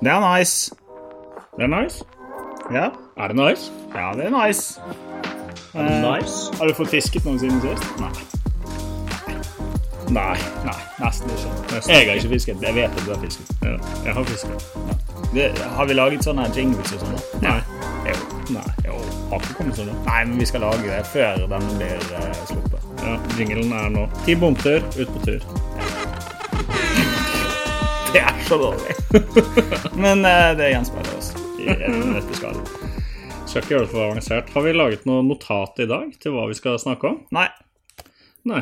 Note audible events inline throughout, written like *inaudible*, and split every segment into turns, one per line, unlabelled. Det er nice.
Det er nice.
Ja,
Er det nice?
ja det er nice.
Er det
Eh,
nice?
Har du fått fisket noe siden sist?
Nei. Nei.
Nei, nesten ikke.
Jeg har ikke fisket. Jeg vet at du har fisket.
Ja, jeg har fisket. Det, har vi laget sånne jingles og sånn? da?
Nei.
Jo.
Nei.
jo.
Har ikke kommet sånn.
Nei, men vi skal lage det før den blir eh, sluppet.
Ja, jinglen er nå. Ti bomtur, ut på tur.
Det er så dårlig. men eh, det gjenspeiler oss i
*laughs*
dette skallet.
Skal ikke gjøre det for avansert. Har vi laget noe notat i dag til hva vi skal snakke om?
Nei,
Nei.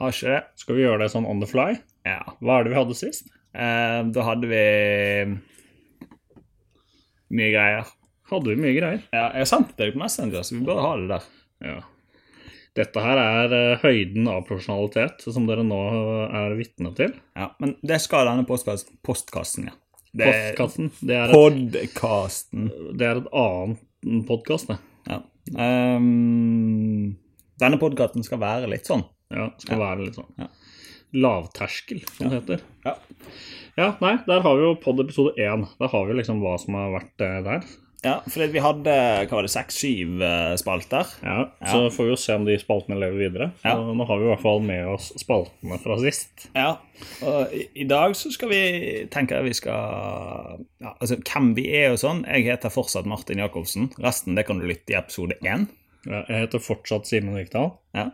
har ikke det.
Skal vi gjøre det sånn on the fly?
Ja.
Hva er det vi hadde sist?
Eh, da hadde vi mye greier.
Hadde vi mye greier.
Ja, jeg sendte deg på Messenger, så vi bør ha det der.
Ja. Dette her er eh, høyden av profesjonalitet som dere nå eh, er vitne til.
Ja, men det skal denne postkass- postkassen, ja. Det er
Postkassen. Det er, et,
podkasten.
det er et annet podkast, det.
Ja. Ehm, denne podkasten skal være litt sånn.
Ja, skal være litt sånn
Ja.
lavterskel, som det heter.
Ja.
Ja, nei, der har vi jo pod episode én. Der har vi liksom hva som har vært eh, der.
Ja, fordi vi hadde hva var det, seks-syv eh, spalter.
Ja, Så får vi jo se om de spaltene lever videre. Så
Ja.
Nå har vi i hvert fall med oss spaltene fra sist.
Ja. Og i, i dag så skal vi tenker jeg vi skal ja, Altså hvem vi er og sånn. Jeg heter fortsatt Martin Jacobsen. Resten det kan du lytte i episode én.
Ja, Jeg heter fortsatt Simen Vikdal.
Ja.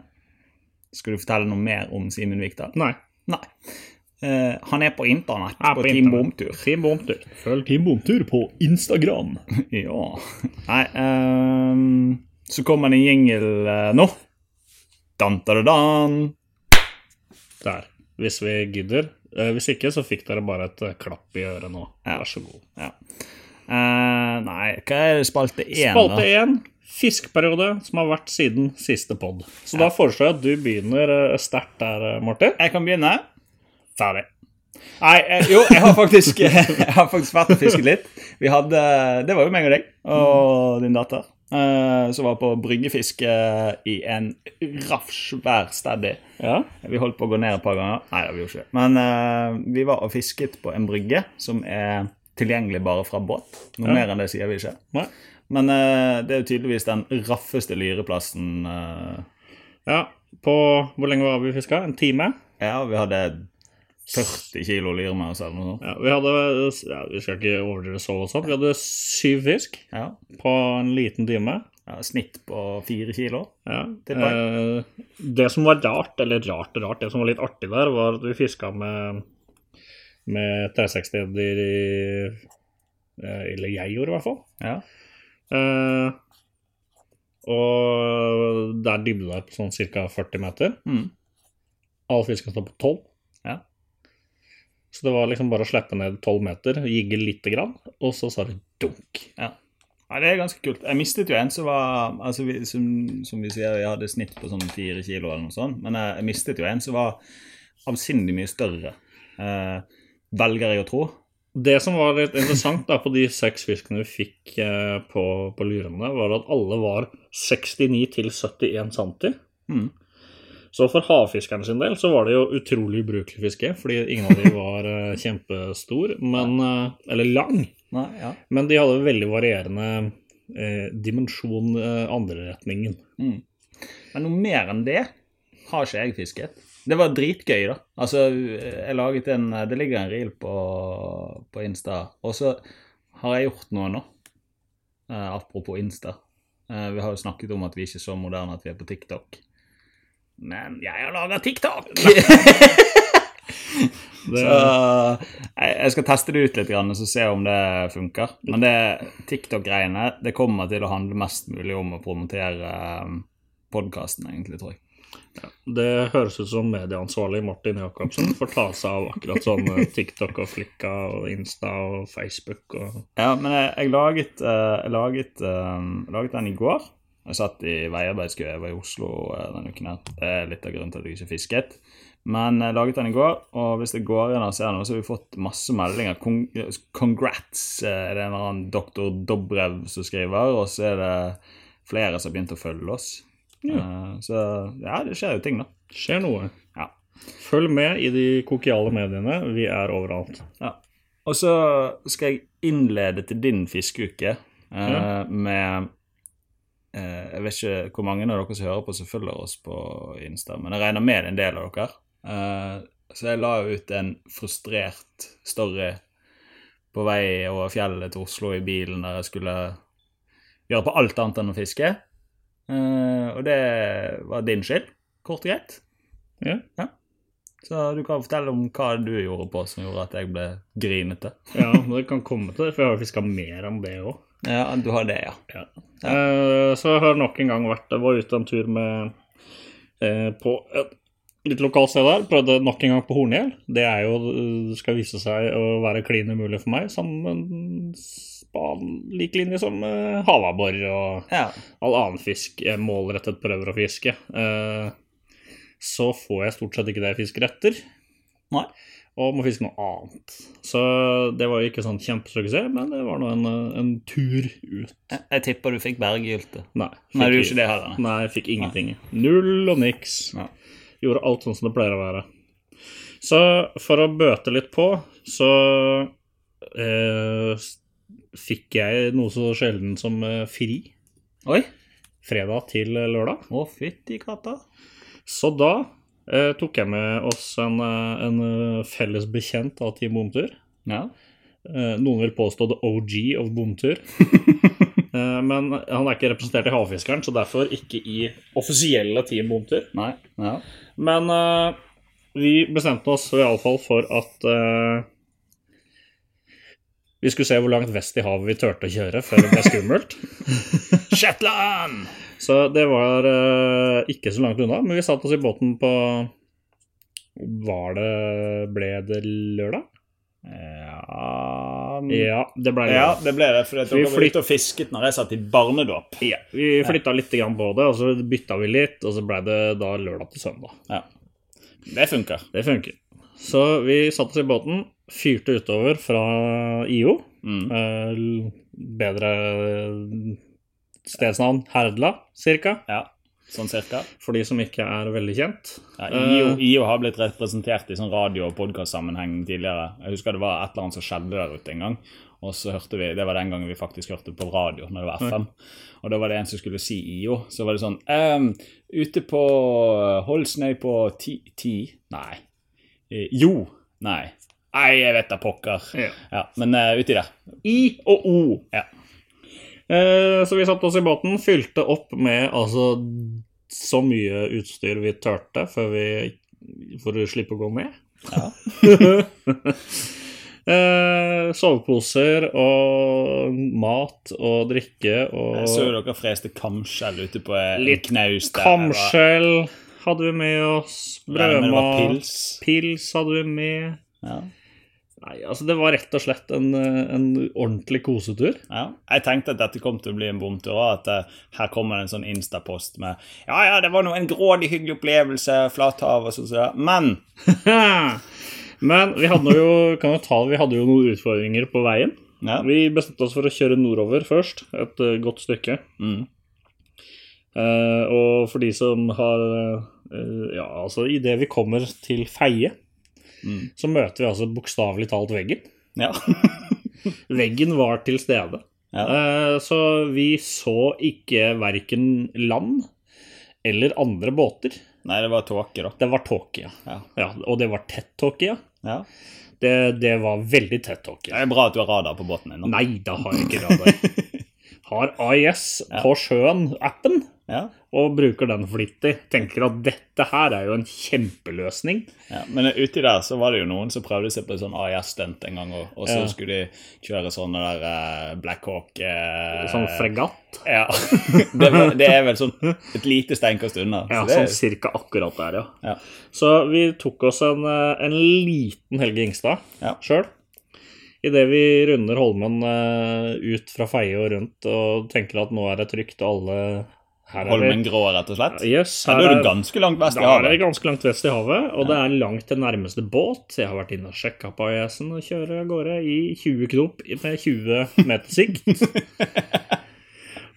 Skal du fortelle noe mer om Simen Vikdal?
Nei.
Nei. Eh, han er på internett
er
på,
på
Team
internett.
Bomtur.
Team Bomtur. Følg Team Bomtur på Instagram. *laughs*
ja. Nei ehm, Så kommer det en jingle eh, nå. Dan, da, da, dan.
Der. Hvis vi gidder. Eh, Hvis ikke, så fikk dere bare et eh, klapp i øret nå. Vær så god.
Ja. Eh, nei, hva er det spalte én?
Spalte én. Fiskeperiode, som har vært siden siste pod. Så da foreslår jeg at du begynner eh, sterkt der, eh, Martin.
Jeg kan begynne.
Ferdig.
Nei, eh, jo, jeg har faktisk, *laughs* jeg har faktisk vært og fisket litt. Vi hadde, Det var jo meg og deg og din datter. eh, som var på bryggefiske i en rafsvær steady.
Ja.
Vi holdt på å gå ned et par ganger. Nei, det gjorde vi ikke. det. Men eh, vi var og fisket på en brygge som er tilgjengelig bare fra båt. Noe
Ja.
mer enn det sier vi ikke.
Nei.
Men eh, det er jo tydeligvis den raffeste lyreplassen. eh.
ja. På Hvor lenge var vi fiska? En time?
ja, vi hadde 40 kilo lyre med oss eller noe sånt.
Ja, vi hadde ja, Vi skal ikke overdrive så voldsomt. Vi hadde syv fisk
Ja.
på en liten time.
ja, Snitt på fire kilo.
Ja.
Det
Det,
er bra.
eh, det som var rart, eller rart og rart, det som var litt artig der, var at vi fiska med, med 360-er i eh, Eller jeg gjorde, i hvert fall.
Ja.
Eh, og der dybde det på sånn ca. 40 meter.
Mm.
All fisken står på 12.
Ja.
Så det var liksom bare å slippe ned 12 meter, jigge lite grann, og så sa det dunk.
Ja, Det er ganske kult. Jeg mistet jo en som var altså vi, som, som vi sier, jeg hadde snitt på sånn fire kilo eller noe sånt. Men jeg, jeg mistet jo en som var avsindig mye større. Eh, velger jeg å tro.
Det som var litt interessant da, på de seks fiskene vi fikk eh, på, på lurene, var at alle var 69 til 71 cm.
Mm.
Så for havfiskerne sin del så var det jo utrolig ubrukelig fiske, fordi ingen av de var eh, kjempestor, men, eh, eller lang.
Nei, ja.
Men de hadde veldig varierende eh, dimensjon eh, andre retningen.
Mm. Men noe mer enn det har ikke jeg fisket. Det var dritgøy, da. Altså, jeg laget en eh, Det ligger en reel på, på Insta. Og så har jeg gjort noe nå. Eh, apropos Insta. Eh, vi har jo snakket om at vi ikke er så moderne at vi er på TikTok. Men jeg har laga
*laughs*
TikTok!
Det,
så jeg, jeg skal teste det ut litt grann, og så se om det funker. Men det TikTok-greiene det kommer til å handle mest mulig om å promotere podkasten, egentlig, tror jeg.
det høres ut som medieansvarlig Martin Jacobsen får ta seg av akkurat sånn eh, TikTok og Flikka og Insta og Facebook og
Ja, men jeg, jeg laget, eh, jeg laget, eh, laget den i går. Jeg satt i veiarbeidskø, jeg var i Oslo eh, denne uken her. Det er litt av grunnen til at jeg ikke fisket. Men jeg laget den i går, og hvis det går inn og ser noe, så har vi fått masse meldinger. Kon congrats, eh, er det en eller annen doktor Dobrev som skriver, og så er det flere som har begynt å følge oss. Eh, Så ja, det skjer jo ting, da.
skjer noe.
Ja.
Følg med i de kokiale mediene. Vi er overalt.
Ja. Og så skal jeg innlede til din fiskeuke eh,
Ja.
med eh, Jeg vet ikke hvor mange av dere som hører på som følger oss på Insta, men jeg regner med en del av dere. Eh, så jeg la jo ut en frustrert story på vei over fjellet til Oslo i bilen der jeg skulle gjøre på alt annet enn å fiske. Eh, og det var din skyld, kort og greit.
Ja.
Så du kan fortelle om hva du gjorde på som gjorde at jeg ble grinete.
Ja, det kan komme til det, for jeg har fiska mer om det òg.
Ja, du har det, ja. Ja.
Eh, Så jeg har nok en gang vært jeg var ute en tur med, eh, på et litt lokalt sted der. Prøvde nok en gang på horngjell. Det er jo, eh, skal vise seg å være klin umulig for meg. Sammen på lik linje som eh, halabbor og
Ja.
all annen fisk jeg målrettet prøver å fiske. Eh, Så får jeg stort sett ikke det jeg fisker etter.
Nei.
Og må fiske noe annet. Så det var jo ikke sånn kjempesuksess, men det var nå en, eh, en tur ut.
Jeg, jeg tipper du fikk berggylte.
Nei,
Nei, du
fikk-
gjorde ikke det heller. nei.
Nei, jeg fikk ingenting. Null og niks.
Ja.
Gjorde alt sånn som det pleier å være. Så for å bøte litt på, så eh, s- fikk jeg noe så sjelden som eh, fri.
Oi.
Fredag til eh, lørdag.
Å, fytti katta.
Så da eh, tok jeg med oss en, eh, en eh, felles bekjent av Team Bomtur.
Ja.
Eh, noen vil påstå the OG of
*laughs*
bomtur. eh, men han er ikke representert i Havfiskeren, så derfor ikke i offisielle Team Bomtur.
Nei. Ja.
Men eh, vi bestemte oss i alle fall for at eh, vi skulle se hvor langt vest i havet vi turte å kjøre før det ble skummelt.
Shetland!
Så det var eh, ikke så langt unna, men vi satte oss i båten på Var det Ble det lørdag?
Ja
Ja, det ble
Mm. Ja,
lørdag.
det ble det, for
Vi
dere var
flytt-
ute og fisket når jeg satt i barnedåp.
Ja, vi flytta litt grann på det, og så bytta vi litt, og så ble det da lørdag til søndag.
Det funker.
Det funker. Så vi satte oss i båten, fyrte utover fra IO.
Mm.
Eh, l- bedre eh, stedsnavn Herdla, cirka.
Ja, sånn cirka.
For de som ikke er veldig kjent.
Ja, IO,
Eh.
IO har blitt representert i sånn radio- og podkastsammenheng tidligere. Jeg husker det var et eller annet som skjedde der ute en gang. Og så hørte vi, Det var den gangen vi faktisk hørte på radio, når det var FM. Og da var det en som skulle si IO. Så var det sånn ehm, Ute på Holsnøy på ti, ti Nei. Eh, Jo. Nei. Nei, jeg vet da pokker.
Ja.
Ja, men eh, uti der.
I og O.
Ja.
Eh, så vi satte oss i båten, fylte opp med altså så mye utstyr vi turte før vi For å slippe å gå ned.
Ja.
*laughs* eh, soveposer og mat og drikke og
Jeg så jo dere freste kamskjell ute på eh, en
Litt
knaus der.
Kamskjell hadde vi med oss.
Brødmat. Det var
Brødmat.
pils.
Pils hadde vi med.
Ja.
Nei, altså Det var rett og slett en, eh, en ordentlig kosetur. *laughs*
Ja. Jeg tenkte at dette kom til å bli en bomtur, og at eh, her kommer det en sånn instapost med Ja, ja, det var nå en grådig hyggelig opplevelse, flathav og sånn som det. Men
Men vi hadde jo, kan jo ta, vi hadde jo noen utfordringer på veien.
ja.
Vi bestemte oss for å kjøre nordover først, et eh, godt stykke.
mm.
Eh, og for de som har eh, Ja, altså idet vi kommer til Feie,
Mm.
så møter vi altså bokstavelig talt veggen.
ja. *laughs*
Veggen var til stede.
ja.
Eh, Så vi så ikke verken land eller andre båter.
Nei, det var tåke, da.
Det var tåke, ja.
Ja.
ja. Og det var tett tåke, ja.
ja.
Det, det var veldig tett tåke.
Det er bra at du har radar på båten din. nå.
Nei, da har jeg ikke radar.
*laughs*
Har AIS på sjøen-appen
Ja.
og bruker den flittig. Tenker at dette her er jo en kjempeløsning.
Ja. Men uti der så var det jo noen som prøvde seg på en sånn AIS-stunt en gang, og, og så
Ja.
skulle de kjøre sånne der eh, Black Hawk eh,
Sånn fregatt.
Ja. *laughs* det, var, det er vel sånn et lite steinkast unna. så
Ja,
det,
sånn cirka akkurat der, ja.
Ja.
Så vi tok oss en, eh, en liten Helge Ingstad
Ja.
sjøl. Idet vi runder Holmen eh, ut fra Feie og rundt og tenker at nå er det trygt og alle her er
Holmen
det-
grå, rett og slett.
Yes,
Ja,
her
da er
er,
du ganske langt vest i
da er det
havet.
ganske langt vest i havet, og det er langt til nærmeste båt. Jeg har vært inne og sjekka på AIS-en og kjører av gårde i 20 knop med 20 meter
*laughs*
sikt.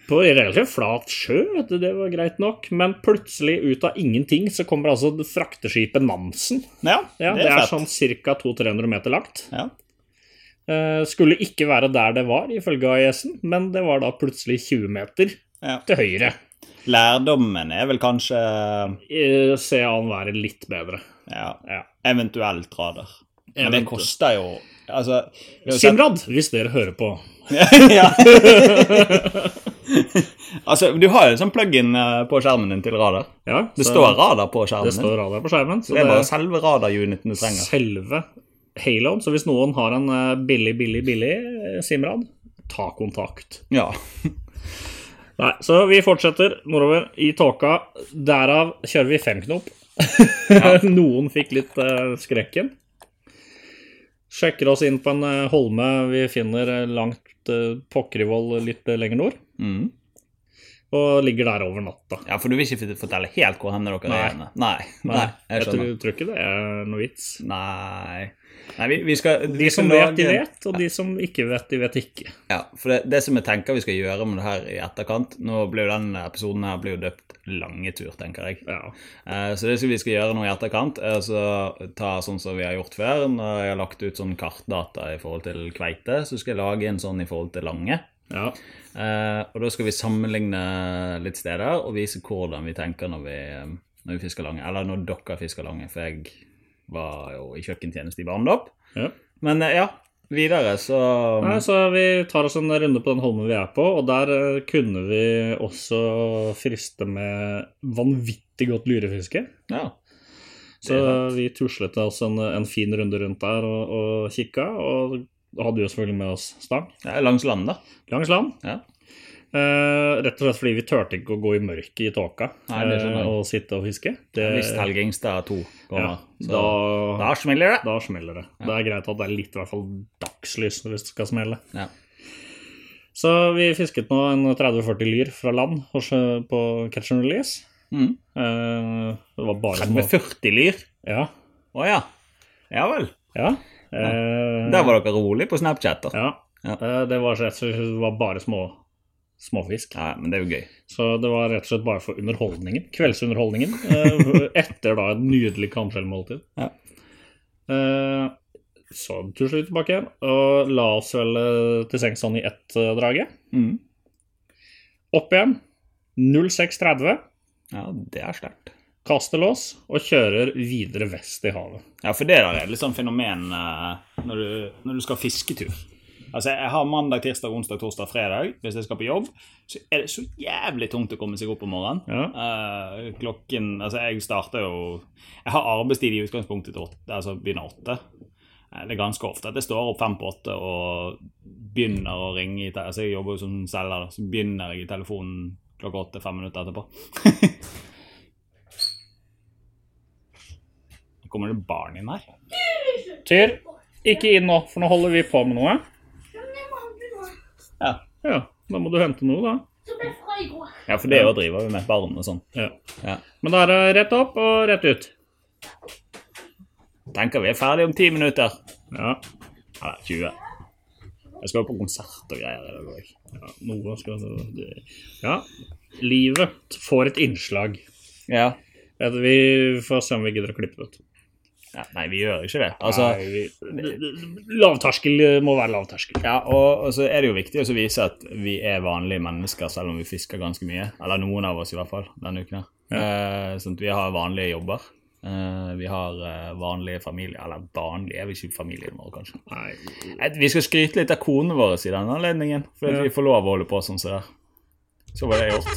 På relativt flat sjø, vet du, det var greit nok, men plutselig, ut av ingenting, så kommer altså frakteskipet Nansen.
Ja, sånn.
Ja, det, er sånn ca. 200-300 meter langt.
Ja.
Eh, Skulle ikke være der det var, ifølge AIS-en, men det var da plutselig 20 meter
Ja.
til høyre.
Lærdommen er vel kanskje
Eh, Se an være litt bedelt
ja,
Ja.
eventuelt radar. Men det
Eventuelt.
koster jo Altså vi har jo sett-
Simrad, hvis dere hører på.
ja. Altså, du har jo en sånn plug-in eh, på skjermen din til radar.
Ja,
Det
så-
står radar på skjermen.
det
din.
står radar på skjermen. Så
det er bare selve radaruniten du trenger.
selve haloen. Så hvis noen har en eh, billig, billig, billig eh, Simrad, ta kontakt.
Ja.
Nei, så vi fortsetter nordover i tåka. Derav kjører vi fem knop. *laughs* Noen fikk litt eh, skrekken. Sjekker oss inn på en eh, holme vi finner eh, langt uh, Pokkerivoll litt eh, lenger nord.
Mm.
Og ligger der over natta.
ja, for du vil ikke fortelle helt hvor hen dere
Nei.
er? henne. Nei. Nei. Nei, jeg skjønner.
tror, tror ikke det er noe vits.
Nei, Nei vi, vi skal vi
De som
skal
vet, de
lage-
vet, og de som ikke vet, de vet ikke.
Ja, for det, det som jeg tenker vi skal gjøre med det her i etterkant Nå blir jo denne episoden her blir jo døpt Lange tur, tenker jeg.
Ja.
Eh, så det som vi skal gjøre nå i etterkant, er altså ta sånn som vi har gjort før. Når jeg har lagt ut sånn kartdata i forhold til kveite, så skal jeg lage en sånn i forhold til lange.
ja.
Eh, og da skal vi sammenligne litt steder og vise hvordan vi tenker når vi, når vi fisker lange. Eller når dere fisker lange, for jeg var jo i kjøkkentjeneste i Barndopp.
Ja.
Men eh, ja, videre så
Nei, så vi tar oss en runde på den holmen vi er på, og der eh, kunne vi også friste med vanvittig godt lurefiske.
Ja.
Så vi tuslet oss en, en fin runde rundt der og, og kikka, og hadde jo selvfølgelig med oss stang
Ja, langs land, da.
langs land.
Ja.
Eh, rett og slett fordi vi turte ikke å gå i mørket i tåka
Nei, det skjønner jeg.
eh, og sitte og fiske. Det,
Hvis Helgingstad 2
ja,
kommer. så
da, da,
da smeller det.
smeller det. Det er greit at det er litt i hvert fall dagslys hvis det skal smelle.
Ja.
Så vi fisket nå en 30-40 lyr fra land og sjø- på catch and release.
Mm.
Eh, det var bare små
Med 40 lyr.
Ja.
Å ja. Ja vel.
ja. Eh,
Der var dere rolig på Snapchat. da.
Ja.
Ja.
Eh, det var rett og slett det var bare små småfisk.
Ja, men det er jo gøy.
Så det var rett og slett bare for underholdningen. Kveldsunderholdningen. eh, etter da et nydelig kamskjellmåltid.
Ja.
Eh, så tuslet vi tilbake igjen og la oss vel eh, til sengs sånn i ett eh, drage.
Mm.
Opp igjen. 06.30.
Ja, det er sterkt.
kaster lås og kjører videre vest i havet.
Ja, for det der er et litt sånn fenomen eh, når, du, når du skal fisketur. Altså, Jeg har mandag, tirsdag, onsdag, torsdag, fredag hvis jeg skal på jobb. Så er det så jævlig tungt å komme seg opp om morgenen.
Ja.
Eh, klokken Altså, jeg starter jo Jeg har arbeidstid i utgangspunktet til åtte, altså begynner åtte. Eh, Det er ganske ofte at jeg står opp fem på åtte og begynner å ringe i te- Altså, jeg jobber jo som selger, da, så begynner jeg i telefonen klokka åtte fem minutter etterpå. *laughs* Nå Kommer det barn inn her?
Tyr, ikke inn nå, for nå holder vi på med noe.
Ja.
Ja, da må du hente noe, da.
Ja, for det jo driver vi med. Barn og sånn.
Ja.
Ja.
Men da er det rett opp og rett ut.
Tenker vi er ferdig om ti minutter.
Ja,
Eller 20. Jeg skal jo på konsert og greier i dag òg.
ja noe skal du Ja. Livet får et innslag.
Ja.
Vet du, Vi får se om vi gidder å klippe det ut.
ja. Nei, vi gjør ikke det. Altså,
Nei, vi- Lavterskel må være lavterskel.
ja, og, og så er det jo viktig å vise at vi er vanlige mennesker, selv om vi fisker ganske mye. Eller noen av oss, i hvert fall, denne uken. her. Eh, sånn at vi har vanlige jobber. Eh, vi har eh, vanlige familier. Eller vanlige er vi ikke i familien vår, kanskje.
Nei.
Eh, Vi skal skryte litt av konene våre i denne anledningen, for at
Ja.
vi får lov å holde på sånn som det. er. Så var det
*laughs*
gjort.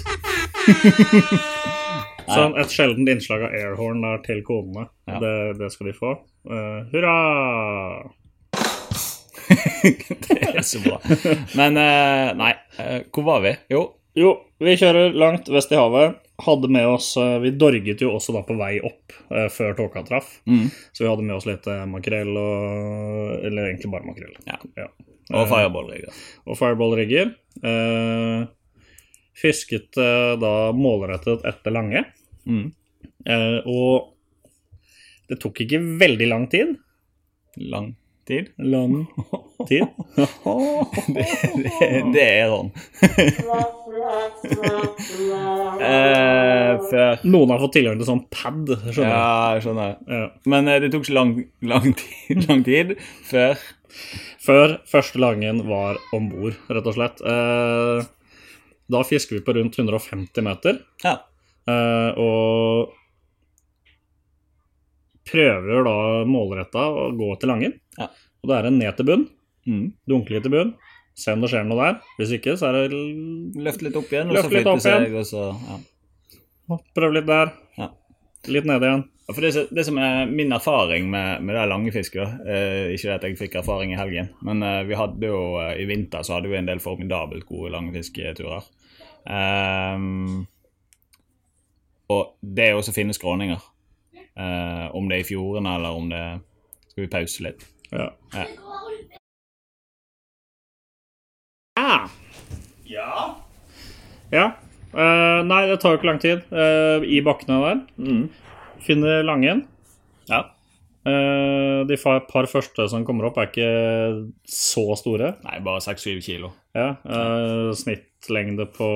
Sånn, et sjeldent innslag av airhorn der til konene.
Ja.
Det, det skal de få. Eh, hurra!
det er så bra. Men eh, nei, eh, hvor var vi? Jo,
Jo, vi kjører langt vest i havet. Hadde med oss, eh, Vi dorget jo også da på vei opp eh, før tåka traff.
Mhm.
Så vi hadde med oss litt eh, makrell og Eller egentlig bare makrell.
Ja.
Ja. Eh.
og fireball-rigger.
Og fireball-rigger. Eh, fisket eh, da målrettet etter lange.
Mhm.
Eh, og det tok ikke veldig lang tid.
Lang. Tid?
Lang
*laughs*
tid.
Det er sånn. eh, før
Noen har fått tilgang til sånn pad, skjønner du.
Ja, jeg skjønner.
Ja.
Men eh, det tok ikke lang, lang, tid, *laughs* lang tid før
Før første langen var om bord, rett og slett. Eh, da fisker vi på rundt 150 meter,
Ja.
eh, og prøver da målretta å gå til langen.
Ja.
Og det er en ned til bunn.
Mm.
Dunke litt i bunn. Se om det skjer noe der. Hvis ikke, så er det l-
Løfte litt opp igjen, og
Løfte
så
litt
flytte
opp igjen.
seg, og så ja.
prøve litt der.
Ja.
Litt nede igjen.
Ja, For det, som- det som er min erfaring med, med det lange fisket da, eh, Ikke det at jeg fikk erfaring i helgen, men eh, vi hadde jo eh, i vinter så hadde vi en del formidabelt gode lange fisketurer. Ehm, og det er jo også fine skråninger. Eh, om det er i fjordene, eller om det Skal vi pause litt?
Ja.
Ja.
Ja. Eh, nei, det tar jo ikke lang tid. Eh, I bakkene der. Finner Langen.
Ja.
Eh, de fa- par første som kommer opp, er ikke så store.
Nei, bare 6-7 kilo.
Ja, eh, snittlengde på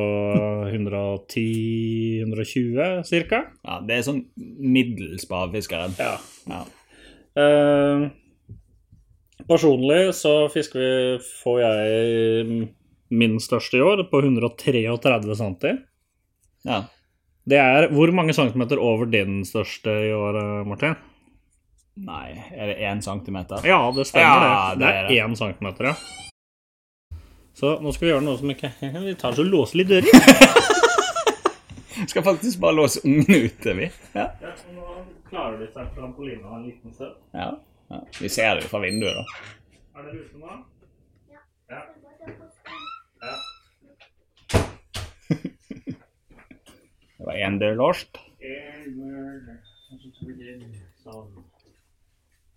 110-120 cirka.
Ja, det er sånn middels på havfiskeren.
Ja.
Ja.
Eh, personlig så fisker vi, får jeg min største i år, på 133 cm.
Ja.
Det er hvor mange centimeter over din største i år, eh, Martin?
Nei, er det 1 centimeter?
Ja, det stemmer
Ja,
det. Det
det
er én centimeter, ja. Så nå skal vi gjøre noe som ikke *laughs* Vi tar så låser litt dører.
Skal faktisk bare låse ungene ute, vi. Ja.
nå klarer de seg trampolina en liten stund.
Ja. ja. Vi ser det jo fra vinduet, da.
Er dere ute nå? Ja.
Det var en død lost.
eh, Det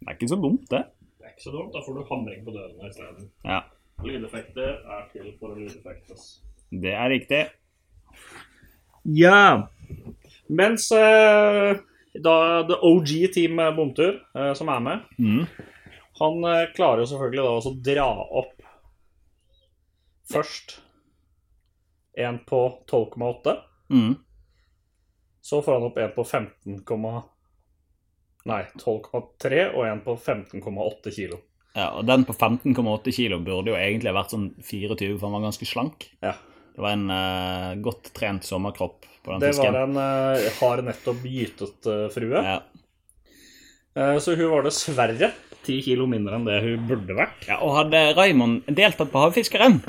Det er ikke så dumt, det.
sånn. er ikke så dumt. Da får du hamring på dørene isteden.
Ja,
Lydeffekter er til for å lydeffektes.
Det er riktig.
Ja. Mens eh, da The OG Team Bomtur, eh, som er med,
Mhm.
han eh, klarer jo selvfølgelig da også å dra opp først en på 12,8.
Mm.
Så får han opp en på 15, nei 12,3 og en på 15,8 kilo.
Ja, og Den på 15,8 kilo burde jo egentlig ha vært sånn 24, for han var ganske slank.
Ja.
Det var en eh, godt trent sommerkropp på den
Det
fisken.
var en eh, har nettopp gytet eh, frue.
Ja.
Eh, så hun var dessverre 10 kilo mindre enn det hun burde vært.
ja, Og hadde Raymond deltatt på Havfiskeren,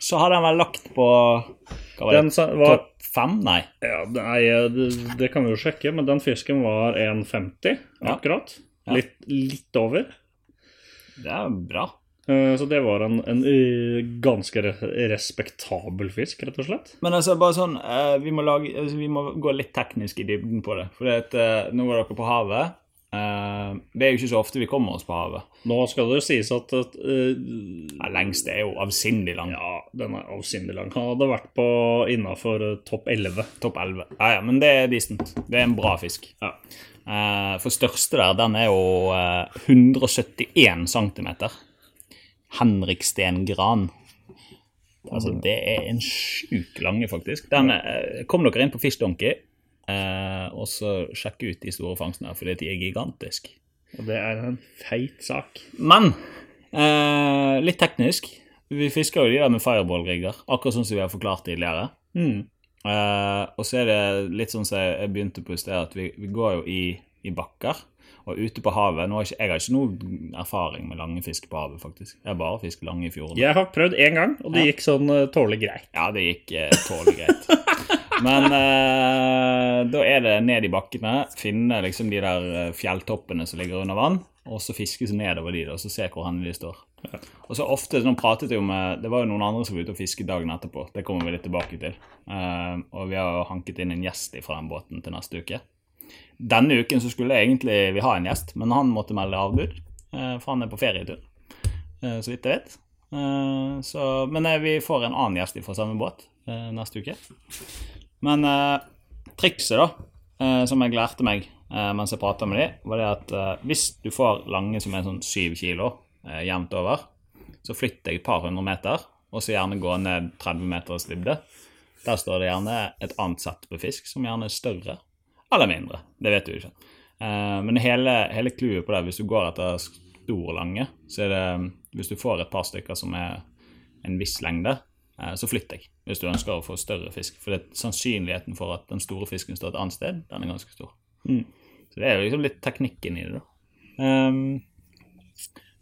så hadde han vel lagt på Hva var det?
Den sa- var
Topp fem? Nei.
Ja, nei, eh, det, det kan vi jo sjekke, men den fisken var 1,50
Ja.
akkurat.
Ja.
Litt, litt over.
Det er bra.
Eh, Så det var en, en eh, ganske re- respektabel fisk, rett og slett.
Men altså, bare sånn, eh, vi, må lage, altså, vi må gå litt teknisk i dybden på det. For det at, eh, nå var dere på havet. Eh, det er jo ikke så ofte vi kommer oss på havet.
Nå skal det sies at, at eh,
Ja, lengst er jo avsindig lang.
Ja, den er avsindig lang. Han hadde vært på innafor eh, topp 11.
Topp 11. Ja, ja, men det er decent. Det er en bra fisk.
Ja.
Eh, for største der, den er jo eh, 171 cm. Henrik Steen Gran. Altså, det er en sjuk lange, faktisk. Den, eh, kom dere inn på Fish Donkey, eh, og så sjekk ut de store fangstene, for de er gigantiske.
Og det er en feit sak.
Men eh, litt teknisk. Vi fisker jo de der med fireball-rigger, akkurat sånn som vi har forklart tidligere.
Mm.
Eh, og så er det litt sånn som jeg jeg begynte på i sted, at vi, vi går jo i, i bakker. Og ute på havet nå har ikke, Jeg har ikke noe erfaring med lange fisk på havet, faktisk. Jeg har bare fisket lange i fjorden.
Jeg har prøvd én gang, og det gikk sånn eh, tålelig greit.
Ja, det gikk eh, tålelig greit. Men eh, da er det ned i bakkene, finne liksom de der eh, fjelltoppene som ligger under vann, og så fiskes nedover de, da, og så se hvor hen de står. Og så ofte, nå pratet jeg jo med, Det var jo noen andre som var ute og fisket dagen etterpå. Det kommer vi litt tilbake til. Eh, og vi har jo hanket inn en gjest fra den båten til neste uke. Denne uken så skulle jeg egentlig vi ha en gjest, men han måtte melde avbud, eh, for han er på ferietur, eh, så vidt jeg vet. Eh, så, men eh, vi får en annen gjest fra samme båt eh, neste uke. Men eh, trikset, da, eh, som jeg lærte meg eh, mens jeg prata med de, var det at eh, hvis du får lange som er sånn syv kilo eh, jevnt over, så flytt deg et par hundre meter, og så gjerne gå ned 30 meters dybde. Der står det gjerne et annet sett på fisk, som gjerne er større eller mindre. Det vet du ikke. Eh, men hele, hele clouet på det, hvis du går etter store og lange, så er det Hvis du får et par stykker som er en viss lengde, eh, så flytt deg hvis du ønsker å få større fisk. For det, sannsynligheten for at den store fisken står et annet sted, den er ganske stor.
Mm.
Så det er jo liksom litt teknikken i det, da. Ehm,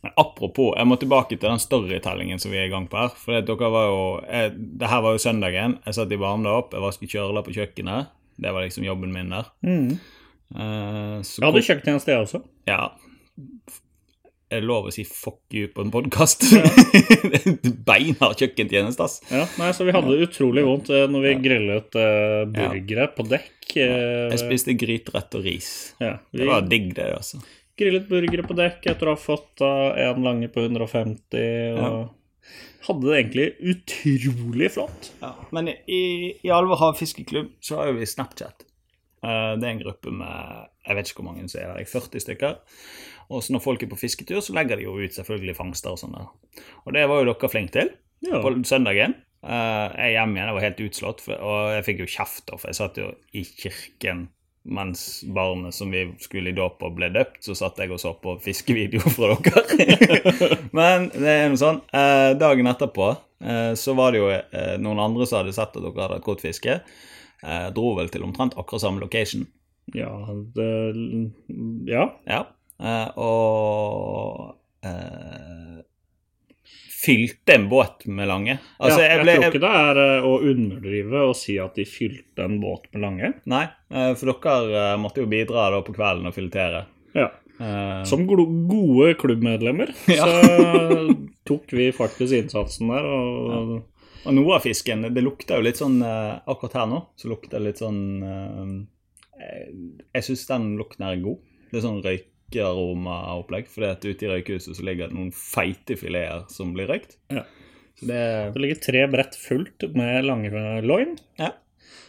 men apropos, jeg må tilbake til den storytellingen som vi er i gang på her. For det, dere var jo, jeg, det her var jo søndagen. Jeg satt i varmen opp, jeg vasket kjøler på kjøkkenet. Det var liksom jobben min der. Eh, så
Mm. Jeg hadde kjøkkentjeneste, jeg også.
ja. Er det lov å si 'fuck you' på en podkast? *laughs* Ja. Beinhard kjøkkentjeneste, ass.
Ja, nei, så Vi hadde det utrolig vondt eh, når vi grillet eh, burgere på dekk. eh,
Jeg spiste gryterett og ris.
ja,
Det
vi
var digg, det, altså.
grillet burgere på dekk etter å ha fått uh, en lange på 150. Og hadde det egentlig utrolig flott.
Ja, men i, i Alvor havfiskeklubb så har jo vi Snapchat. Eh, det er en gruppe med jeg vet ikke hvor mange som er der, 40 stykker. Og så når folk er på fisketur, så legger de jo ut selvfølgelig fangster og sånn. der. Og det var jo dere flinke til
Ja.
på søndagen. Eh, jeg er hjemme igjen, jeg var helt utslått, for, og jeg fikk jo kjeft, da, for jeg satt jo i kirken mens barnet som vi skulle i dåp og ble døpt, så satt jeg og så på fiskevideo fra dere.
*laughs*
Men det er noe sånn. Eh, dagen etterpå eh, så var det jo eh, noen andre som hadde sett at dere hadde hatt godt fiske. Eh, dro vel til omtrent akkurat samme location.
Ja, det, ja.
Ja. Eh, og eh, fylte en båt med lange. Altså,
ja,
jeg ble,
tror ikke det er eh, å underdrive og si at de fylte en båt med lange.
Nei, eh, for dere eh, måtte jo bidra da på kvelden og filetere.
Ja.
Eh,
Som glo- gode klubbmedlemmer
Ja.
så
*laughs*
tok vi faktisk innsatsen der. Og,
Og noe av fisken Det lukter jo litt sånn eh, Akkurat her nå så lukter det litt sånn eh, eh, Jeg syns den lukten her er god. Det er sånn røykearomaopplegg. For ute i røykehuset så ligger det noen feite fileter som blir røykt.
Ja.
Så det
Det ligger tre brett fullt med langloin.
Ja.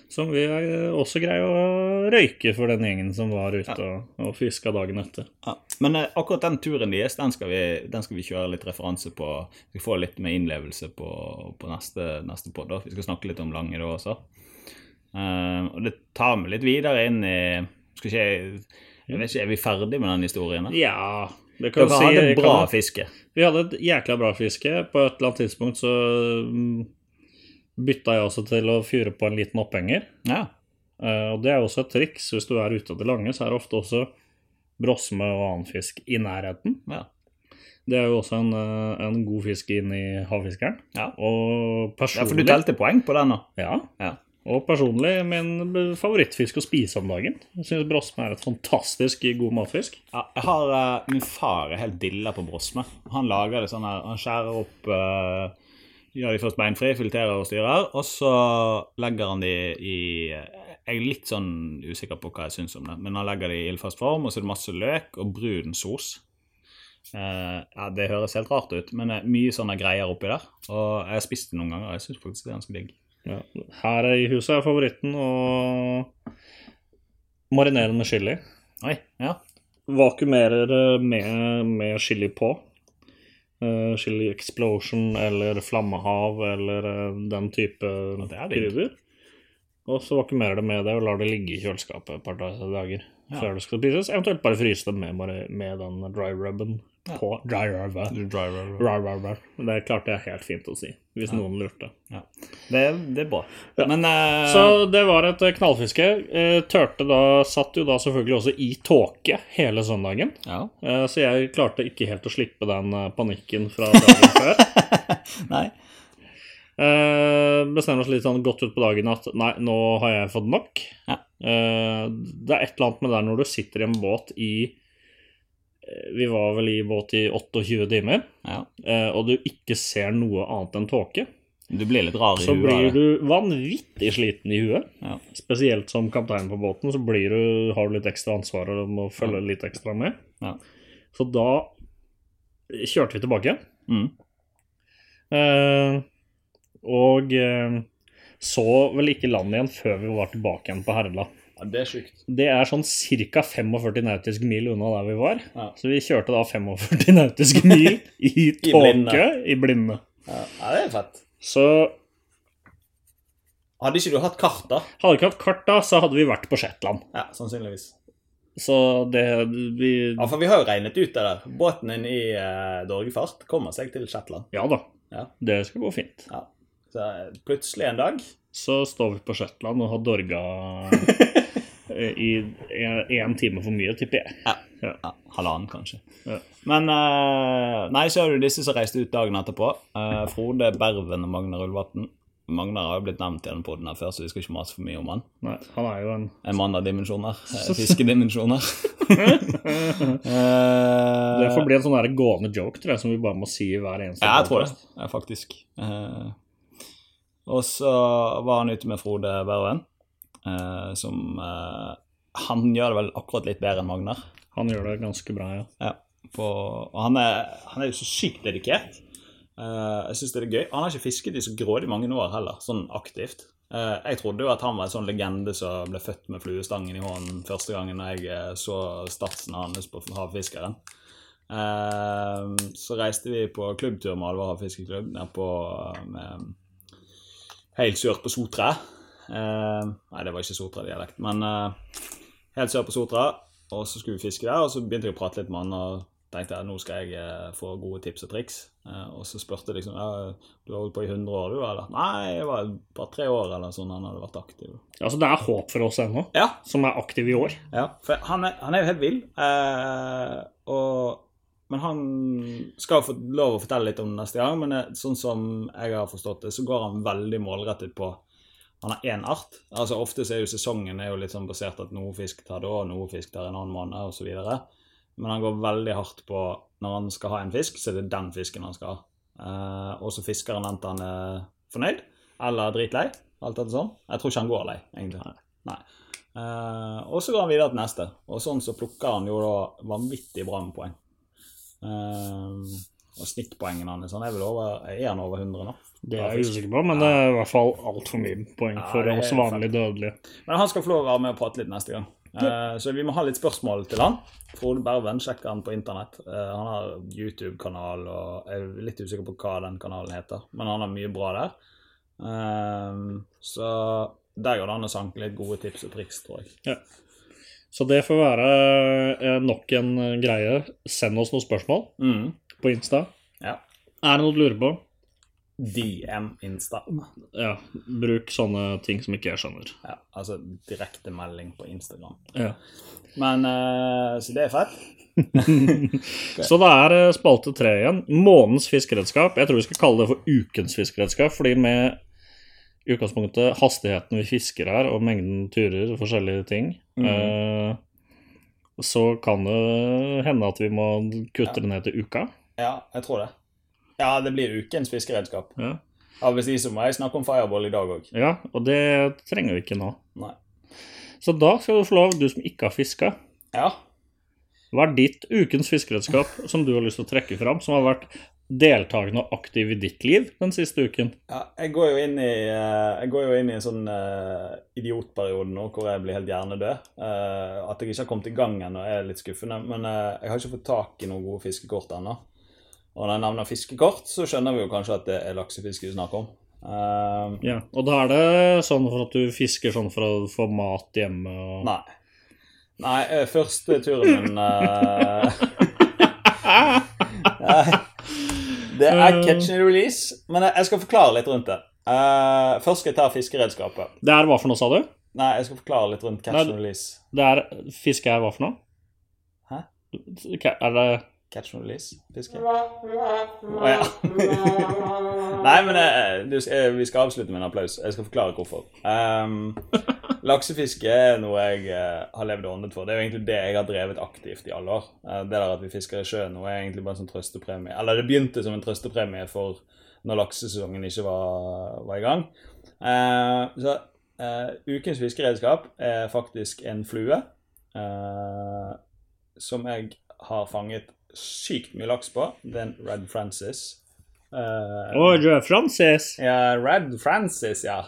Som vi eh, også greier å røyke for den gjengen som var ute og, og fiska dagen etter.
ja. Men eh, akkurat den turen deres, den skal vi, den skal vi kjøre litt referanse på. Vi skal få litt med innlevelse på, på neste, neste podd. da. Vi skal snakke litt om Lange da også. Eh, og det tar vi litt videre inn i Skal ikke jeg jeg vet ikke, Er vi ferdig med den historien? da?
Ja, det
Dere
kan du si.
hadde bra
kan,
fiske.
vi hadde et jækla bra fiske. På et eller annet tidspunkt så mm, bytta jeg også til å fyre på en liten opphenger.
Ja.
Eh, og det er også et triks. Hvis du er ute til lange, så er det ofte også brosme og annen fisk i nærheten.
Ja.
Det er jo også en, eh, en god fisk inn i havfiskeren.
Ja.
Og
ja, for du
personlig
telte poeng på den nå.
Ja.
Ja.
Og personlig min favorittfisk å spise om dagen. Jeg syns brosme er et fantastisk god matfisk.
Ja, jeg har, eh, min far er helt dilla på brosme. Han lager det sånn her, han skjærer opp eh, Gjør de først beinfri, fileterer og styrer, og så legger han de i Jeg er litt sånn usikker på hva jeg syns om det, men han legger de i ildfast form, og så er det masse løk og brun sos. Eh, ja, Det høres helt rart ut, men eh, mye sånne greier oppi der. Og jeg har spist det noen ganger, og jeg syns faktisk det er ganske digg.
Her i huset er favoritten å marinere med chili.
Oi, ja.
Vakuumerer eh, med, med chili på. Eh, chili explosion eller flammehav eller eh, den type
det er digg.
krydder. Og så vakuumerer det med det og lar det ligge i kjøleskapet et par dager
Ja.
før det skal spises. Eventuelt bare fryse det med, mari- med den dry rubben
Ja.
på. Dry rubber. Rar, rar, rar. Det klarte jeg helt fint å si, hvis noen lurte.
Det, det er bra.
Ja.
Men eh,
Så det var et eh, knallfiske. Eh, Tørte da, satt jo da selvfølgelig også i tåke hele søndagen.
ja.
*laughs* Eh, Så jeg klarte ikke helt å slippe den eh, panikken fra dagen
*laughs*
før.
Nei.
Eh, Bestemmer oss litt sånn godt utpå dagen at nei, nå har jeg fått nok.
Ja.
Eh, Det er et eller annet med det når du sitter i en båt i eh, Vi var vel i båt i 28 timer,
Ja.
eh, og du ikke ser noe annet enn tåke.
Du blir litt rar i
Så
huet.
blir
av det.
du vanvittig sliten i huet.
Ja.
Spesielt som kaptein på båten, så blir du, har du litt ekstra ansvar og må følge litt ekstra med.
Ja.
Så da kjørte vi tilbake igjen.
Mm.
Eh, og eh, så vel ikke land igjen før vi var tilbake igjen på Herla.
Ja, det er sjukt.
Det er sånn ca. 45 nautiske mil unna der vi var.
Ja.
Så vi kjørte da 45 nautiske
*laughs*
mil i
blinde.
tåke i blinde.
Ja, ja, det er fett.
Så
Hadde ikke du hatt kart, da?
hadde vi ikke hatt kart da, så hadde vi vært på Shetland.
Ja, sannsynligvis.
Så det vi,
Ja, for vi har jo regnet ut det der. Båten inn i eh, Dorgefart kommer seg til Shetland.
Ja da.
Ja.
Det skal gå fint.
Ja. Så eh, plutselig en dag
Så står vi på Shetland og har dorga eh, i én time for mye, tipper jeg.
ja, Halvannen, kanskje.
Ja.
Men eh, Nei, så er det jo disse som reiste ut dagen etterpå. Eh, Frode Berven og Magnar Ulvatn. Magnar har jo blitt nevnt i denne podden her før, så vi skal ikke mase for mye om han.
Nei, han er jo en
En mann av dimensjoner. eh, *laughs* Fiskedimensjoner. Eh,
Det
det
får bli en sånn der gående joke tror jeg, som vi bare må si i hver eneste
Eh. Ja, jeg tror det,
podcast.
ja, faktisk. Eh, og så var han ute med Frode Berven, eh, som eh, Han gjør det vel akkurat litt bedre enn Magnar.
Han gjør det ganske bra, ja.
Ja, på, og han er, han er jo så sykt dedikert. Eh, jeg syns det er gøy. Han har ikke fisket i så grådig mange år heller, sånn aktivt. Eh, jeg trodde jo at han var en sånn legende som ble født med fluestangen i hånden første gangen jeg eh, så statsen hans på Havfiskeren. Eh, så reiste vi på klubbtur med Alvor havfiskeklubb ned på eh, helt sør på Sotra. Eh, nei, det var ikke Sotra-dialekt, men eh, helt sør på Sotra. Og så skulle vi fiske der, og så begynte jeg å prate litt med han og tenkte at nå skal jeg eh, få gode tips og triks. Eh, og så spurte jeg liksom ja, du har holdt på i 100 år, du, eller? Nei, det var et par-tre år eller sånn han hadde vært aktiv.
Altså, det er håp for oss ennå,
Ja,
som er aktive i år.
ja for han er, han er jo helt vill. Eh, og, men han skal jo få lov å fortelle litt om det neste gang, men eh, sånn som jeg har forstått det, så går han veldig målrettet på han har én art. Altså Ofte så er jo sesongen er jo litt sånn basert at noe fisk tar da, noe fisk tar en annen måned osv. Men han går veldig hardt på når han skal ha en fisk, så er det den fisken han skal ha. Eh, og så fisker han enten han er fornøyd eller dritlei. Alt etter sånn. Jeg tror ikke han går lei, egentlig. Nei. Eh, og så går han videre til neste. Og sånn så plukker han jo da vanvittig bra med poeng. Eh, og snittpoengene hans han er vel over, er han over 100 nå?
Det er jeg usikker på, men det er i hvert fall altfor mye poeng
Ja,
for
det er
oss
sant.
vanlige dødelige.
Men han skal få lov å være med og prate litt neste gang. Eh, så vi må ha litt spørsmål til han. Frode Berven sjekker han på internett. Eh, han har YouTube-kanal, og jeg er litt usikker på hva den kanalen heter, men han har mye bra der. Eh, så der går det an å sanke litt gode tips og triks, tror jeg.
Så det får være eh, nok en greie. Send oss noen spørsmål
Mm.
på Insta.
Ja.
Er det noe du lurer på?
DM Insta.
Ja, bruk sånne ting som ikke jeg skjønner.
Ja, altså direktemelding på Instagram.
Ja.
Men eh, Så det er fett.
Så det er eh, spalte tre igjen. Månens fiskeredskap. Jeg tror vi skal kalle det for ukens fiskeredskap, fordi med i utgangspunktet hastigheten vi fisker her, og mengden turer og forskjellige ting, eh, så kan det hende at vi må kutte det ned til uka.
Ja, jeg tror det. Ja, det blir ukens fiskeredskap.
Ja.
Ja, Hvis ikke så må jeg snakke om fireball i dag òg.
ja, og det trenger vi ikke nå.
Nei.
Så da skal du få lov, du som ikke har fiska.
Ja.
Hva er ditt ukens fiskeredskap som du har lyst til å trekke fram, som har vært deltakende og aktiv i ditt liv den siste uken?
Ja, jeg går jo inn i, eh, jeg går jo inn i en sånn eh, idiotperiode nå hvor jeg blir helt hjernedød. Eh, at jeg ikke har kommet i gang ennå er litt skuffende, men eh, jeg har ikke fått tak i noen gode fiskekort ennå. Og når jeg nevner fiskekort, så skjønner vi jo kanskje at det er laksefiske vi snakker om. Eh,
Ja, og da er det sånn for at du fisker sånn for å få mat hjemme og
nei. Nei, eh, første turen min eh, Nei. Det er catch and release, men jeg- jeg skal forklare litt rundt det. Eh, først skal jeg ta fiskeredskapet.
Det er hva for noe, sa du?
Nei, jeg skal forklare litt rundt catch
Nei,
and
du-
release.
Det er Fiske er hva for noe?
Hæ?
Ka- Er det
Catch and release? Fiske? Å ja. *laughs* Nei, men eh, du, eh, vi skal avslutte med en applaus. Jeg skal forklare hvorfor. Ehm, laksefiske er noe jeg eh, har levd og åndet for. Det er jo egentlig det jeg har drevet aktivt i alle år. Eh, det der at vi fisker i sjøen nå, er egentlig bare en sånn trøstepremie. Eller det begynte som en trøstepremie for når laksesesongen ikke var, var i gang. Eh, så eh, ukens fiskeredskap er faktisk en flue. eh, som jeg har fanget sykt mye laks på. Det er en Red Francis. Eh,
Å, Joe Francis!
ja, Red Francis, ja.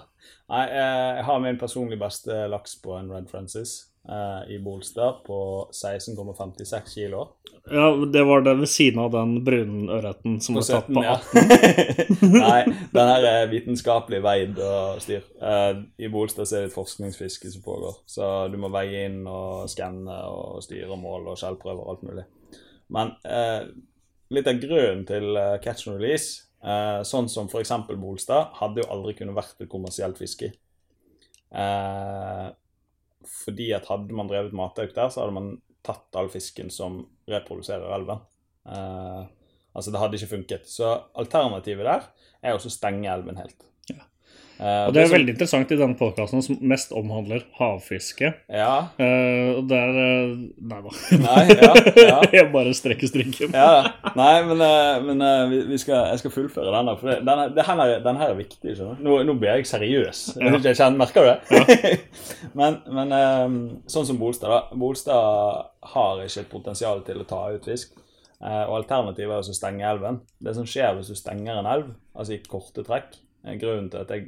Nei, eh, jeg har min personlig beste laks på en Red Francis eh, i Bolstad på 16,56 kilo.
Ja, det var det ved siden av den brunørreten som ble tatt på.
ja.
alt.
*laughs* Nei, den her eh, er vitenskapelig veid og styr. Eh, I Bolstad så er det et forskningsfiske som pågår, så du må veie inn og skanne og styre mål og skjellprøver og alt mulig. Men eh, litt av grunnen til eh, catch and release, eh, sånn som f.eks. Bolstad, hadde jo aldri kunnet vært et kommersielt fiske. Eh, fordi at hadde man drevet matauk der, så hadde man tatt all fisken som reproduserer elven. Eh, altså, det hadde ikke funket. Så alternativet der er også å stenge elven helt. Eh,
Og det er
som-
veldig interessant i denne podkasten som mest omhandler havfiske.
Ja.
Eh, og der eh, Nei da.
Nei, ja, ja.
*laughs* Jeg bare strekker strikken.
*laughs* Ja, nei, men, eh, men eh, vi, vi skal, jeg skal fullføre den. da, For det- den, her- det her er, den her er viktig. skjønner du? Nå, nå blir jeg seriøs. Jeg, vet ikke, jeg kjenner, merker du det? *laughs* men men eh, sånn som Bolstad. da, Bolstad har ikke et potensial til å ta ut fisk. eh, og alternativet er altså å stenge elven. Det som skjer hvis du stenger en elv, altså i korte trekk er Grunnen til at jeg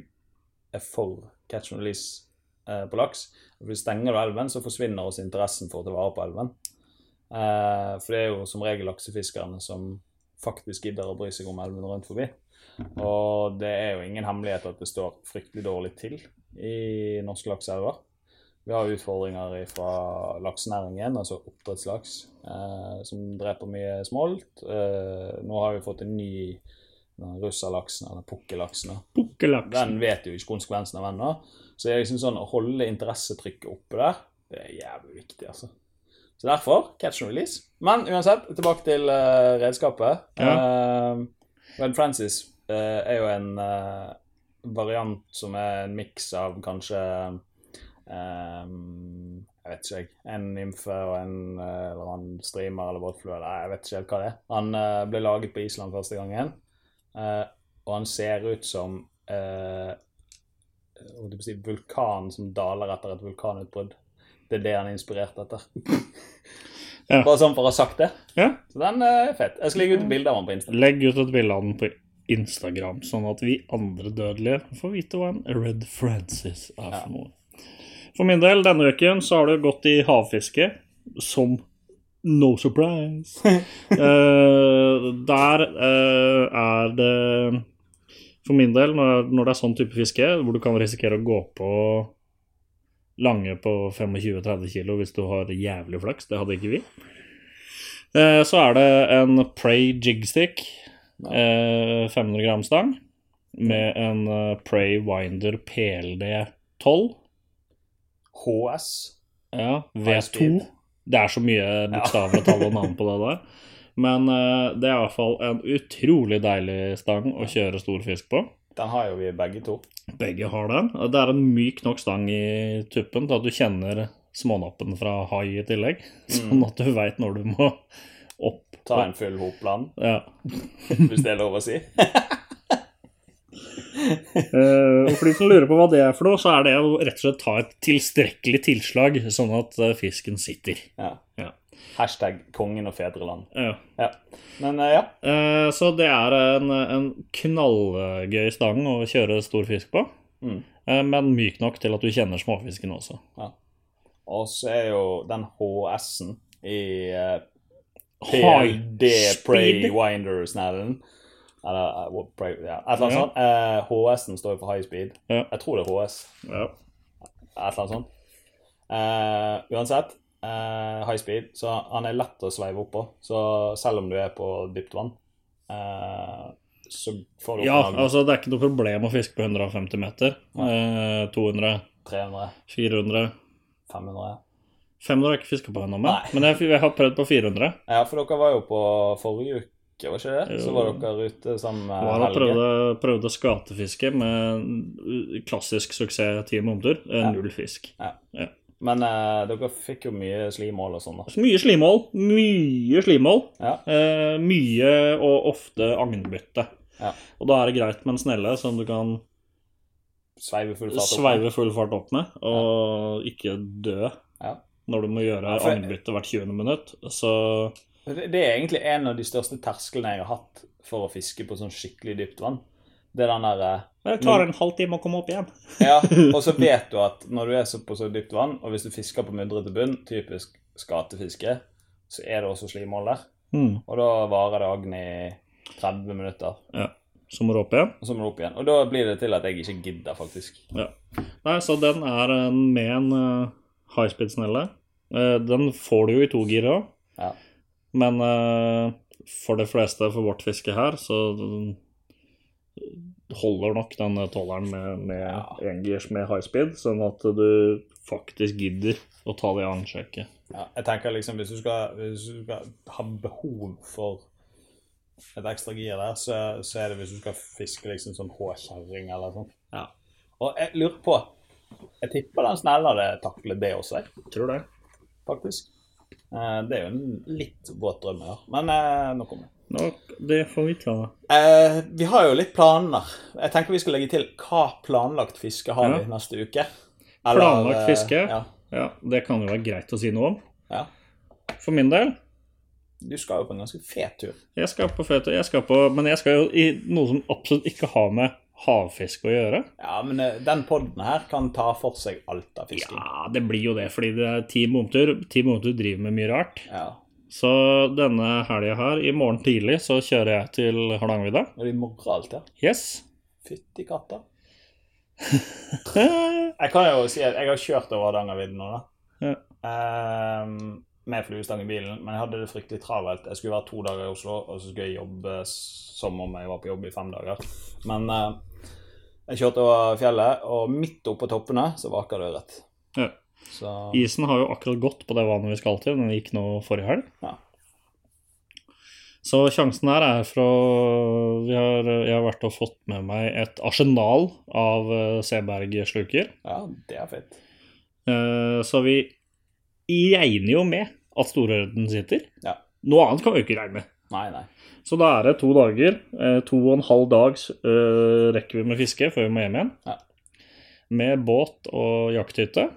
er for catch and release eh, på laks Fordi Stenger du elven, så forsvinner også interessen for å ta vare på elven. Eh, for det er jo som regel laksefiskerne som faktisk gidder å bry seg om elven rundt forbi. Og det er jo ingen hemmelighet at det står fryktelig dårlig til i norske lakseelver. Vi har utfordringer fra laksenæringen, altså oppdrettslaks, eh, som dreper mye smolt. Eh, nå har vi fått en ny den russerlaksen, eller pukkellaksen. da.
Pukkelaks.
Den vet jo ikke konsekvensen av ennå. Så jeg synes sånn, å holde interessetrykket oppe der, det er jævlig viktig, altså. Så derfor catch and release. Men uansett, tilbake til eh, redskapet. Eh, Red Francis eh, er jo en eh, variant som er en miks av kanskje eh, Jeg vet ikke, jeg. En nymfe og en eh, eller annen streamer eller båtflue. eller Jeg vet ikke helt hva det er. Han eh, ble laget på Island første gangen. Eh, og han ser ut som eh, hva skal jeg si, vulkan som daler etter et vulkanutbrudd. Det er det han er inspirert etter. *laughs*
Ja.
Bare sånn for å ha sagt det.
Ja.
Så den eh, er fet. Jeg skal legge ut bilde av han på Insta.
Legg ut et bilde av den på Instagram, sånn at vi andre dødelige får vite hva en Red Francis er for noe. For min del, denne uken så har det gått i havfiske, som no surprise. Eh, der eh, er det For min del, når, når det er sånn type fiske, hvor du kan risikere å gå på lange på 25-30 kilo hvis du har jævlig flaks, det hadde ikke vi. Eh, Så er det en Prey jigstick, eh, 500 gram stang, med en eh, Prey Winder PLD 12.
HS.
Ja,
High
V2.
speed.
Det er så mye bokstaver og tall og navn på det der. Men eh, det er i hvert fall en utrolig deilig stang å kjøre stor fisk på.
Den har jo vi begge to.
Begge har den. og Det er en myk nok stang i tuppen til at du kjenner smånappen fra hai i tillegg. *laughs* Sånn
Mm.
at du veit når du må opp.
Ta en full hopland,
Ja.
hvis det er lov å si.
Eh, og for de som lurer på hva det er for noe, så er det å rett og slett ta et tilstrekkelig tilslag, sånn at eh, fisken sitter.
Ja.
Ja.
Hashtag kongen og fedreland.
Ja.
Ja. Men eh, ja.
Eh, så det er en, en knallgøy stang å kjøre stor fisk på,
Mm.
eh, men myk nok til at du kjenner småfisken også.
Og så er jo den HS-en i eh,
High
PLD Prey
speed.
Winder-snellen. Eller eh, what- Prey, ja. et eller annet
Ja.
sånt. Eh, HS-en står jo for high speed.
Ja.
Jeg tror det er HS.
Ja.
Et eller annet sånt. Eh, uansett, eh, high speed, så han er lett å sveive opp på. Så selv om du er på dypt vann, eh, så får du opp
ja,
en
altså det er ikke noe problem å fiske på 150 meter. Eh, 200,
300,
400
500
500 har jeg ikke fiska på ennå,
Nei.
men men jeg, jeg har prøvd på 400.
Ja, for dere var jo på forrige uke, var ikke det?
Jo.
Så var dere ute eh, sammen med
Var og prøvde, prøvde skatefiske med klassisk suksess ti måneder. Eh,
Ja.
Null fisk.
Men eh, dere fikk jo mye slimål og sånn, da.
Så mye slimål. Mye slimål.
Ja.
Eh, mye og ofte agnbytte.
Ja.
Og da er det greit med en snelle som du kan
Sveive full fart. opp.
sveive full fart opp med, og ikke dø.
Ja.
Når du må gjøre
Ja, for-
agnbytte hvert 20. minutt, så
Det det er egentlig en av de største tersklene jeg har hatt for å fiske på sånn skikkelig dypt vann. Det er den der eh,
Men det tar en halv time å komme opp igjen.
Ja, og så vet du at når du er så på så dypt vann, og hvis du fisker på mudrete bunn, typisk skatefiske, så er det også slimål der. Og da varer dagen i 30 minutter,
Så må du opp igjen.
og så må du opp igjen. Og da blir det til at jeg ikke gidder, faktisk.
Nei, så den er en, med en eh, high speed-snelle. Eh, den får du jo i to gir òg,
Ja.
men eh, for de fleste for vårt fiske her, så eh, holder nok den eh, tåleren med, med
Ja.
engirs med high speed, sånn at du faktisk gidder å ta det ansjekket.
Ja, jeg tenker liksom, hvis du, skal, hvis du skal ha behov for et ekstra gir der, så, så er det hvis du skal fiske liksom sånn håkjerring eller sånn.
Ja.
Og jeg lurer på, jeg tipper den snella hadde taklet det også, jeg.
Tror det.
faktisk. Eh, Det er jo en litt våt drøm jeg har, men eh, nok om det.
Nok, det får vi ta.
Eh, vi har jo litt planer. Jeg tenker vi skal legge til hva planlagt fiske har
Ja.
vi neste uke.
Planlagt
eh,
fiske?
Ja.
Ja, det kan jo være greit å si noe om.
Ja.
For min del
Du skal jo på en ganske fet tur.
Jeg skal på føtter, jeg skal på Men jeg skal jo i noe som absolutt ikke har med havfisk å gjøre.
Ja, men eh, den podden her kan ta for seg alt av fisking.
Ja, det blir jo det, fordi det er Team Omtur. Team Omtur driver med mye rart.
Ja.
Så denne helga her, i morgen tidlig, så kjører jeg til Hardangervidda.
Og de morrer alt, ja.
Yes. *laughs*
Fytti katta.
Eh,
Jeg kan jo si at jeg har kjørt over Hardangervidda nå, da.
Ja.
Ehm, med fluestang i bilen, men jeg hadde det fryktelig travelt. Jeg skulle være to dager i Oslo, og så skulle jeg jobbe som om jeg var på jobb i fem dager. Men eh, jeg kjørte over fjellet, og midt oppå toppene så vaker det ørret.
Ja.
Så
Isen har jo akkurat gått på det vannet vi skal til. Den gikk nå forrige helg.
Ja.
Så sjansen her er fra vi har, Jeg har vært og fått med meg et arsenal av eh, Seberg-sluker.
ja, det er fett.
Eh, Så vi regner jo med at storørreten sitter.
Ja.
Noe annet kan vi jo ikke regne med.
Nei, nei.
Så da er det to dager. eh, To og en halv dags eh, rekker vi med fiske før vi må hjem igjen.
Ja.
Med båt og jakthytte.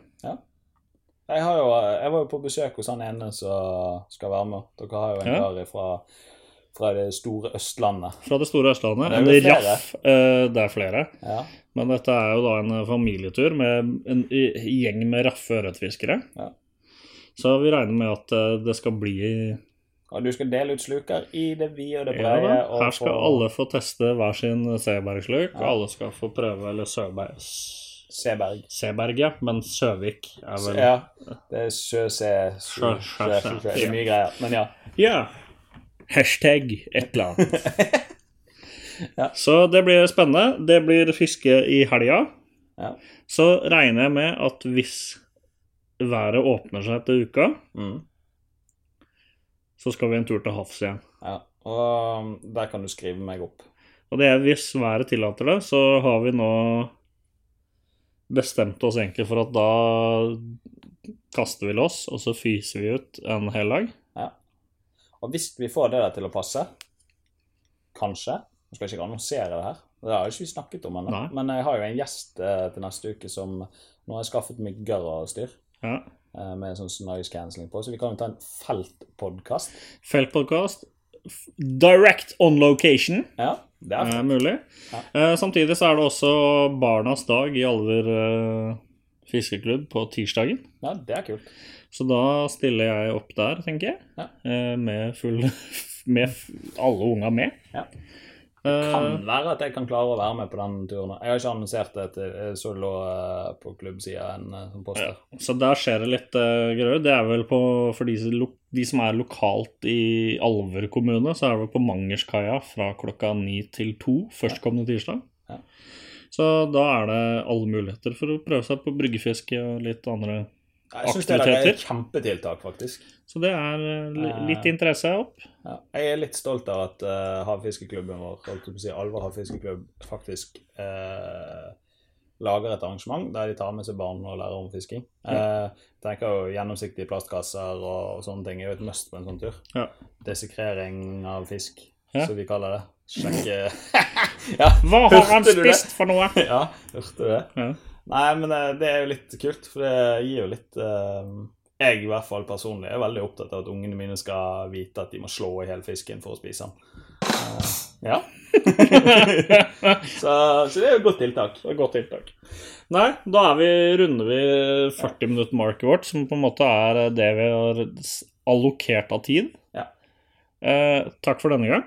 Jeg, har jo, jeg var jo på besøk hos han ene som skal være med. Dere har jo en
Ja.
kar fra, fra det store Østlandet.
Fra det store Østlandet.
Det er
En
jo flere.
raff. eh, Det er flere.
Ja,
Men dette er jo da en eh, familietur med en i- gjeng med raffe ørretfiskere.
Ja.
Så vi regner med at eh, det skal bli
Og du skal dele ut sluker i det vide og det
Ja
brede.
da.
og
Her skal
få-
alle få teste hver sin Seberg-sluk, og
Ja.
alle skal få prøve Eller Søberg
Seberg.
Seberg, ja. Men Søvik er vel
Ja, det er sjøse sjø,
Sjø-
sjø,
sjø-
sjø,
sjø.
Det er mye greier. Men ja.
Ja. Hashtag et eller annet.
*laughs* Ja.
Så det blir spennende. Det blir fiske i helga.
Ja.
Så regner jeg med at hvis været åpner seg etter uka, så skal vi en tur til havs igjen.
ja. Og um, der kan du skrive meg opp.
Og det er hvis været tillater det, så har vi nå bestemt oss egentlig for at da kaster vi loss, og så fyser vi ut en hel dag.
Og hvis vi får det der til å passe, kanskje Nå skal jeg ikke annonsere det her, det har ikke vi snakket om ennå.
Nei.
Men jeg har jo en gjest eh, til neste uke som Nå har jeg skaffet mygger og styr
Ja.
eh, med sånn noise cancelling på, så vi kan jo ta en feltpodkast.
Feltpodkast. f- Direct on location
Ja, det er
er mulig.
Ja.
Eh, Samtidig så er det også Barnas dag i Alver eh, fiskeklubb på tirsdagen.
Ja, det er kult.
Så da stiller jeg opp der, tenker jeg.
Ja.
Eh, Med full *laughs* Med f- alle unga med.
Ja.
Eh,
Kan være at jeg kan klare å være med på den turen. Jeg har ikke annonsert det, til, jeg så det lå eh, på klubbsida en eh, sånn poster.
Så der skjer det litt uh, greier. Det er vel på, for de, som lo- de som er lokalt i Alver kommune, så er det vel på Mangerskaia fra klokka ni til to førstkommende tirsdag.
Ja.
Så da er det alle muligheter for å prøve seg på bryggefiske og litt andre
Jeg syns det der er et
Aktiviteter?
kjempetiltak, faktisk.
Så det er eh, li-
Eh.
litt interesse opp.
Ja. Jeg er litt stolt av at eh, havfiskeklubben vår, holdt jeg på å si, Alver havfiskeklubb, faktisk eh, lager et arrangement der de tar med seg barn og lærer om fisking. Eh, tenker jo Gjennomsiktige plastkasser og, og sånne ting er jo et must på en sånn tur.
Ja.
Desekrering av fisk,
Ja.
som vi kaller det. Sjekke
*laughs*
*laughs* Ja,
Hva har han
Hørte du det?
spist for
*laughs*
noe? *laughs*
ja, hørte du det?
Ja.
Nei, men eh, det er jo litt kult, for det gir jo litt eh, Jeg i hvert fall personlig er veldig opptatt av at ungene mine skal vite at de må slå i hele fisken for å spise den. Ja. så, så det er jo et godt tiltak.
Det er et godt tiltak. Nei, da er vi, runder vi 40 minutter market vårt, som på en måte er det vi har s- allokert av tid.
Ja.
Eh, takk for denne gang.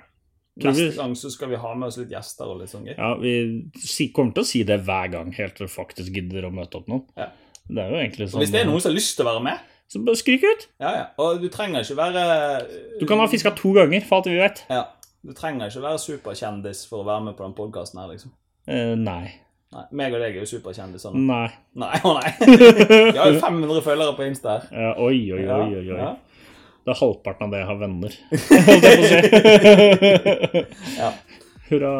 Tror vi-
Neste gang så skal vi ha med oss litt gjester og litt sånn gøy.
Ja, vi si, kommer til å si det hver gang, helt til du faktisk gidder å møte opp noen.
Ja.
Det er jo egentlig
Så
sånn
Hvis det er noen som har lyst til å være med
Så bare skrik ut!
Ja, ja. Og du trenger ikke være eh,
Du kan ha fiska to ganger, for alt vi vet.
Ja. Du trenger ikke være superkjendis for å være med på den podkasten her, liksom.
Eh, nei.
Nei, meg og deg er jo superkjendiser nå. *laughs*
Nei.
Nei, å nei. *laughs* Vi har
*laughs*
jo 500 følgere på Insta her.
Eh, oi, oi,
Ja,
oi, oi. oi.
ja.
Det er halvparten av det jeg har
*laughs*
venner. Holdt jeg på å si.
Ja.
Hurra.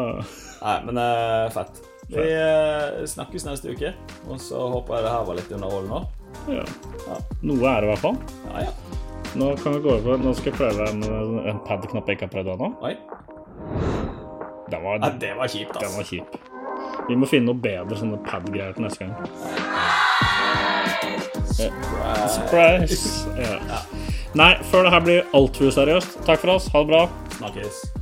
Nei, men eh, fett. Vi eh, snakkes neste uke, og så håper jeg det her var litt underholdende òg.
Ja.
Ja.
Noe er det i hvert fall.
Ja, ja.
Nå kan vi gå over. Nå skal jeg prøve en, en pad-knapp jeg ikke har prøvd ennå.
Oi.
Den var,
Ja, det var kjipt,
den
altså.
var kjip. Vi må finne noe bedre sånne pad-greier til neste gang.
Eh,
Surprise! Ja. Nei, før det her blir altfor seriøst. Takk for oss. Ha det bra.
Snakkes.